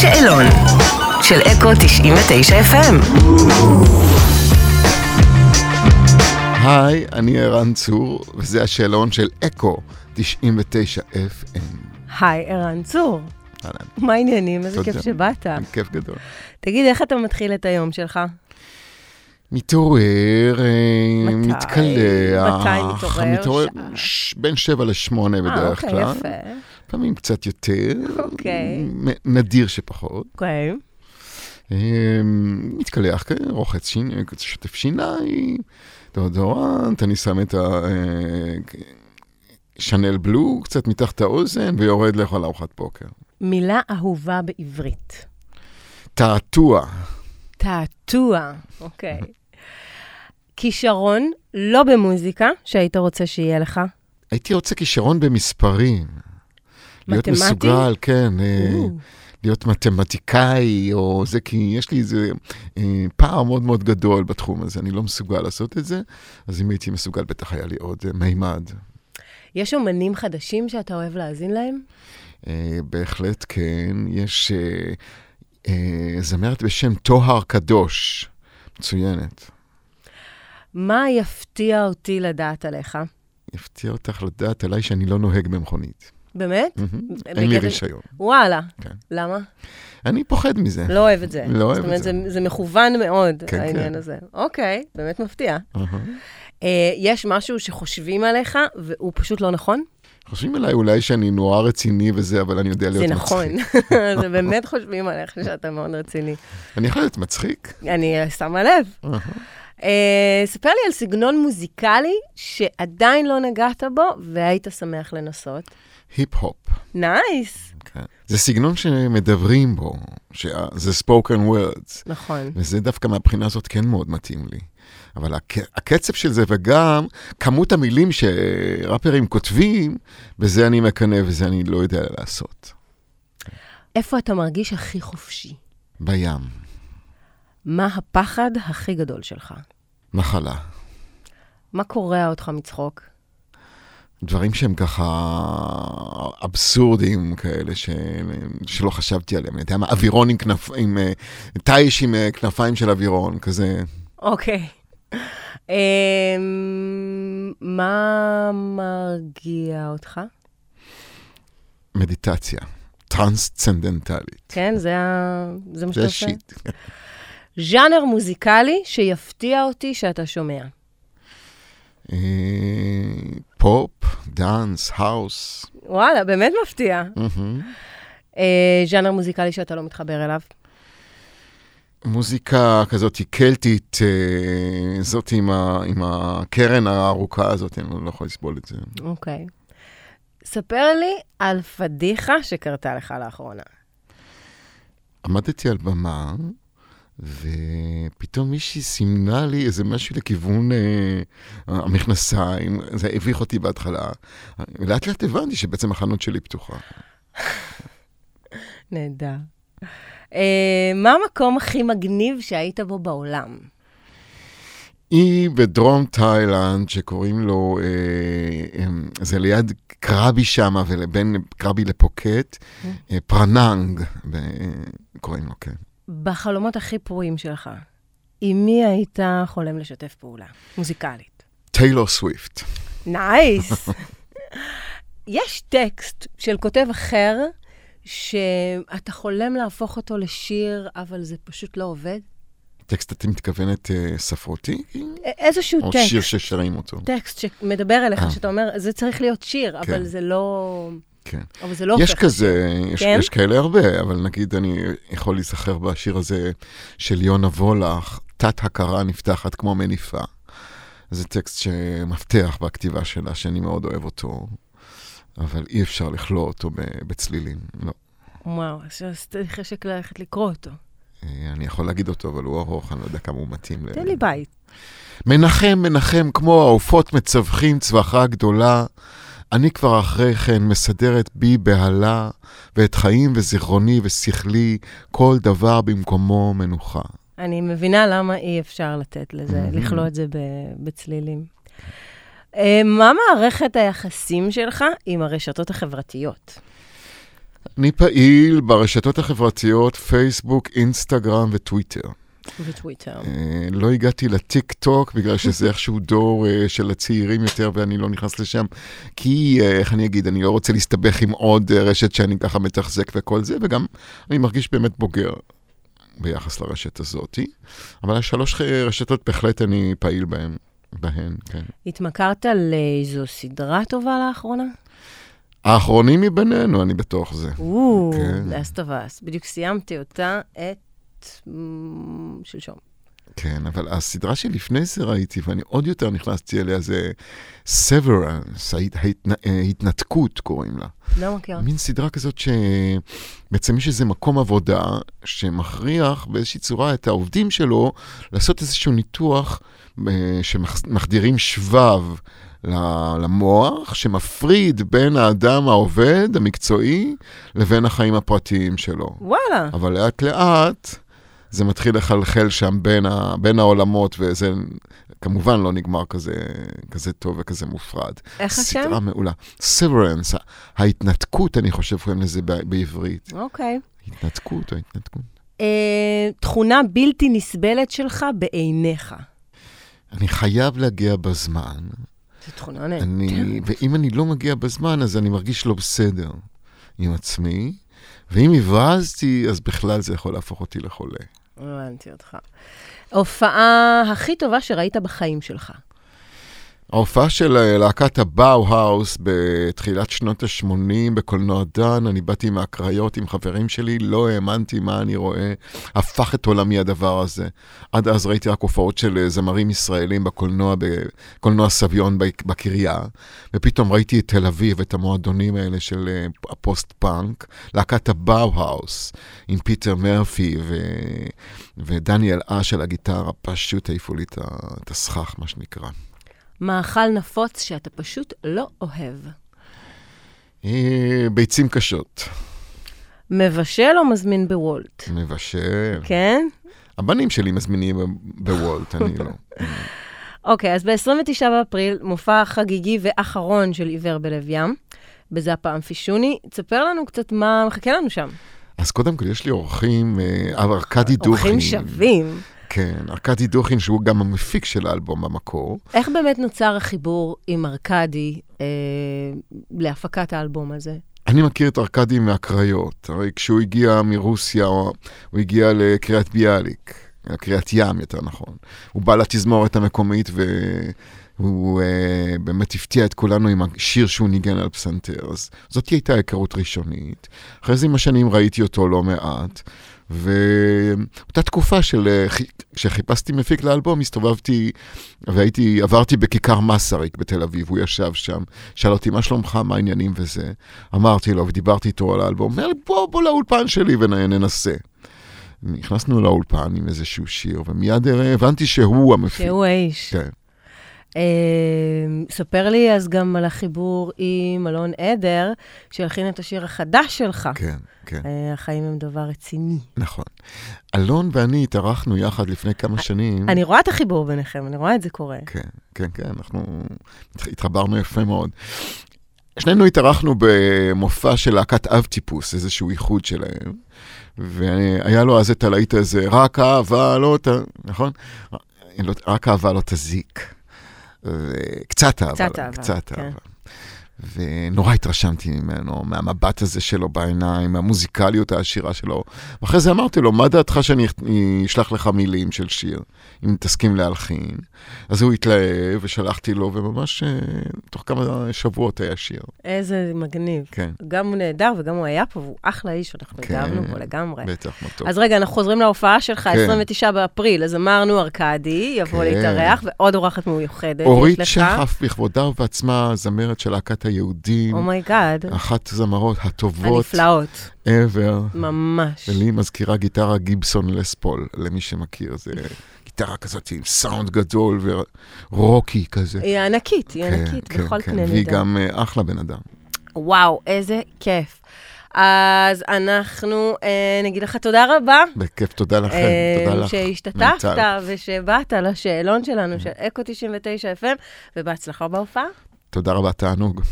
שאלון של אקו 99 FM. היי, אני ערן צור, וזה השאלון של אקו 99 FM. היי, ערן צור, אהלן, מה העניינים? איזה תודה. כיף שבאת. כיף גדול. תגיד, איך אתה מתחיל את היום שלך? מתעורר, אה, מתי? מתקלח. מתי מתעורר? ש- בין שבע לשמונה בדרך כלל. אה, אוקיי, יפה. פעמים קצת יותר. אוקיי. מ- נדיר שפחות. אוקיי. אה, מתקלח, כן, רוחץ שיניים, שוטף שיניים, דאודורנט, אני שם את ה... אה, שנל בלו, קצת מתחת האוזן, ויורד לאכול ארוחת בוקר. מילה אהובה בעברית. תעתוע, תעתוע. אוקיי. כישרון לא במוזיקה, שהיית רוצה שיהיה לך. אה. הייתי רוצה כישרון במספרים. להיות מתמטי? מסוגל, כן, אה, או, להיות מתמטיקאי או זה, כי יש לי איזה אה, פער מאוד מאוד גדול בתחום הזה, אני לא מסוגל לעשות את זה, אז אם הייתי מסוגל, בטח היה לי עוד אה, מימד. יש אומנים חדשים שאתה אוהב להאזין להם? אה, בהחלט כן, יש אה, אה, זמרת בשם טוהר קדוש, מצוינת. מה יפתיע אותי לדעת עליך? יפתיע אותך לדעת עליי שאני לא נוהג במכונית. באמת? מהמם. אין לי בגלל- רישיון. וואלה. כן. למה? אני פוחד מזה. לא אוהב את זה. לא אוהב זאת את אומרת, זה. זה, זה מכוון מאוד, כן, כן, העניין כן. כן. הזה. אוקיי, באמת מפתיע. אהה. אה, יש משהו שחושבים עליך והוא פשוט לא נכון? חושבים עליי אולי שאני נורא רציני וזה, אבל אני יודע להיות זה מצחיק. נכון. זה באמת חושבים עליך שאתה מאוד רציני. אני יכול להיות מצחיק? אני אה, שמה לב. אה, ספר לי על סגנון מוזיקלי שעדיין לא נגעת בו והיית שמח לנסות. היפ-הופ. נייס. כן. זה סגנון שמדברים בו, שה- זה spoken words, נכון. וזה דווקא מהבחינה הזאת כן מאוד מתאים לי. אבל הק- הקצב של זה וגם כמות המילים שראפרים כותבים, בזה אני מקנא וזה אני לא יודע לעשות. איפה אתה מרגיש הכי חופשי? בים, מה הפחד הכי גדול שלך? מחלה, מה קורע אותך מצחוק? דברים שהם ככה אבסורדים כאלה, ש... שלא חשבתי עליהם. אני יודע מה, אווירון עם כנף... עם אה, תיש עם אה, כנפיים של אווירון, כזה. אוקיי. אמ, מה מרגיע אותך? מדיטציה, טרנסצנדנטלית. כן, זה ה... זה מה זה שאתה עושה? השיט. ז'אנר מוזיקלי שיפתיע אותי שאתה שומע. אה, פופ, דאנס, האוס. וואלה, באמת מפתיע. מהמם. אה, ז'אנר מוזיקלי שאתה לא מתחבר אליו. מוזיקה כזאת היא קלטית, אה, זאת עם, ה, עם הקרן הארוכה הזאת, אני לא יכול לסבול את זה. אוקיי. ספר לי על פדיחה שקרתה לך לאחרונה. עמדתי על במה, ופתאום מישהי סימנה לי איזה משהו לכיוון אה, המכנסיים, זה הביך אותי בהתחלה. לאט לאט הבנתי שבעצם החנות שלי פתוחה. נהדר. אה, מה המקום הכי מגניב שהיית בו בעולם? היא בדרום תאילנד, שקוראים לו, אה, אמ, זה ליד קרבי שמה, ובין קרבי לפוקט, אה, פרננג, ב- אה, קוראים לו, כן. בחלומות הכי פרועים שלך, עם מי היית חולם לשתף פעולה? מוזיקלית. טיילור סוויפט. נייס. יש טקסט של כותב אחר, שאתה חולם להפוך אותו לשיר, אבל זה פשוט לא עובד? טקסט, את מתכוונת אה, ספרותי? א- איזשהו או טקסט. שיר ששרים אותו? טקסט שמדבר אליך, אה. שאתה אומר, זה צריך להיות שיר, כן. אבל זה לא... כן. אבל זה לא יש הופך. כזה, יש, כן? יש כאלה הרבה, אבל נגיד אני יכול להיזכר בשיר הזה של יונה וולך, תת-הכרה נפתחת כמו מניפה. זה טקסט שמפתח בכתיבה שלה, שאני מאוד אוהב אותו, אבל אי אפשר לכלוא אותו ב- בצלילים. לא. וואו, אז אז צריך חשק ללכת לקרוא אותו. אה, אני יכול להגיד אותו, אבל הוא ארוך, אני לא יודע כמה הוא מתאים. ל- תן לי בית. מנחם, מנחם, כמו העופות מצווחים צווחה גדולה. אני כבר אחרי כן מסדרת בי בהלה, ואת חיים וזיכרוני ושכלי, כל דבר במקומו מנוחה. אני מבינה למה אי אפשר לתת לזה, Mhm. לכלוא את זה ב, בצלילים. אה, מה מערכת היחסים שלך עם הרשתות החברתיות? אני פעיל ברשתות החברתיות, פייסבוק, אינסטגרם וטוויטר. וטוויטר. אה, לא הגעתי לטיק טוק, בגלל שזה איכשהו דור אה, של הצעירים יותר, ואני לא נכנס לשם, כי, אה, איך אני אגיד, אני לא רוצה להסתבך עם עוד אה, רשת שאני ככה מתחזק וכל זה, וגם אני מרגיש באמת בוגר ביחס לרשת הזאתי. אבל השלוש אה, רשתות בהחלט אני פעיל בהן, בהן, כן. התמכרת לאיזו סדרה טובה לאחרונה? האחרונים מבינינו, אני בתוך זה. או, כן. Last of Us. בדיוק סיימתי אותה את... מ, שלשום. כן, אבל הסדרה שלפני זה ראיתי, ואני עוד יותר נכנסתי אליה, זה Severance, ההת, ההת, ההתנתקות קוראים לה. לא מכירה. מין סדרה כזאת שבעצם יש איזה מקום עבודה שמכריח באיזושהי צורה את העובדים שלו לעשות איזשהו ניתוח אה, שמחדירים שבב ל- למוח, שמפריד בין האדם העובד, המקצועי, לבין החיים הפרטיים שלו. וואלה. אבל לאט לאט זה מתחיל לחלחל שם בין, ה, בין העולמות, וזה כמובן לא נגמר כזה, כזה טוב וכזה מופרד. איך השם? סדרה מעולה. Severance, ההתנתקות, אני חושב קוראים לזה ב- בעברית. אוקיי. התנתקות, ההתנתקות. אה, תכונה בלתי נסבלת שלך בעיניך. אני חייב להגיע בזמן, זו תכונה נהנית. אני, כן. ואם אני לא מגיע בזמן, אז אני מרגיש לא בסדר עם עצמי, ואם הבזתי, אז בכלל זה יכול להפוך אותי לחולה. לא הבנתי אותך. ההופעה הכי טובה שראית בחיים שלך. ההופעה של אה, להקת הבאו-האוס בתחילת שנות ה-80 בקולנוע דן, אני באתי מהקריות עם חברים שלי, לא האמנתי מה אני רואה, הפך את עולמי הדבר הזה. עד אז ראיתי רק הופעות של אה, זמרים ישראלים בקולנוע, בקולנוע סביון בק- בקריה, ופתאום ראיתי את תל אביב, את המועדונים האלה של אה, הפוסט-פאנק, להקת הבאו-האוס, עם פיטר מרפי ו... ודניאל אש על הגיטרה, פשוט העיפו לי את ה- את הסכך, מה שנקרא. מאכל נפוץ שאתה פשוט לא אוהב. אה, ביצים קשות, מבשל או מזמין בוולט? מבשל. כן? הבנים שלי מזמינים בוולט, אני לא. אוקיי, אז ב-29 באפריל, מופע חגיגי ואחרון של עיוור בלב ים, בזאפה אמפישוני. תספר לנו קצת מה מחכה לנו שם. אז קודם כל, יש לי אורחים, אה, אבל ארכדי דוכין. אורחים שווים. כן, ארכדי דוכין, שהוא גם המפיק של האלבום במקור. איך באמת נוצר החיבור עם ארקדי אה, להפקת האלבום הזה? אני מכיר את ארכדי מהקריות, הרי כשהוא הגיע מרוסיה, הוא הוא הגיע לקריית ביאליק, לקריית ים יותר נכון. הוא בא לתזמורת המקומית והוא אה, באמת הפתיע את כולנו עם השיר שהוא ניגן על פסנתר. אז זאת הייתה היכרות ראשונית. אחרי זה עם השנים ראיתי אותו לא מעט, ואותה תקופה של... אה, חי- כשחיפשתי מפיק לאלבום, הסתובבתי והייתי, עברתי בכיכר מסריק בתל אביב, הוא ישב שם, שאל אותי, מה שלומך, מה העניינים וזה? אמרתי לו, ודיברתי איתו על האלבום, אומר לי, בוא, בוא לאולפן שלי וננסה. נכנסנו לאולפן עם איזשהו שיר, ומיד אה, הבנתי שהוא המפיק. שהוא האיש. כן. אה, ספר לי אז גם על החיבור עם אלון עדר, שהלחין את השיר החדש שלך. כן, כן, אה, החיים הם דבר רציני. נכון. אלון ואני התארחנו יחד לפני כמה שנים. אני רואה את החיבור ביניכם, אני רואה את זה קורה. כן, כן, כן, אנחנו התח- התחברנו יפה מאוד. שנינו התארחנו במופע של להקת אב טיפוס, איזשהו איחוד שלהם, והיה לו אז את הלהיט הזה, רק אהבה לא ת... נכון? לא- רק אהבה לא תזיק. ו- קצת אהבה. קצת לא, אהבה, קצת כן. אהבה. ונורא התרשמתי ממנו, מהמבט הזה שלו בעיניים, מהמוזיקליות העשירה שלו. ואחרי זה אמרתי לו, מה דעתך שאני אכ- אשלח לך מילים של שיר, אם תסכים להלחין? אז הוא התלהב, ושלחתי לו, וממש אה, תוך כמה שבועות היה שיר. איזה מגניב. כן, גם הוא נהדר וגם הוא היה פה, והוא אחלה איש, אנחנו כן. התאהבנו בו לגמרי. בטח, מתוק. אז רגע, אנחנו חוזרים להופעה שלך, כן. 29 באפריל, אז אמרנו ארקדי, יבוא כן. להתארח, ועוד אורחת מיוחדת אה, יש לך. אורית שחף בכבודה ובעצמה, זמרת של להקת היהודים, אומייגאד, אחת הזמרות הטובות Oh הנפלאות, ever. ממש. ולי היא מזכירה גיטרה גיבסון לספול, למי שמכיר, זה גיטרה כזאת עם סאונד גדול ורוקי כזה. היא ענקית, היא כן, אה, ענקית כן, בכל כן. קנה והיא מידה. גם אה, אחלה בן אדם. וואו, איזה כיף. אז אנחנו אה, נגיד לך תודה רבה. בכיף, תודה לכם, אה, תודה לך. שהשתתפת מיטל. ושבאת לשאלון שלנו של אקו 99 FM, ובהצלחה בהופעה. תודה רבה, תענוג.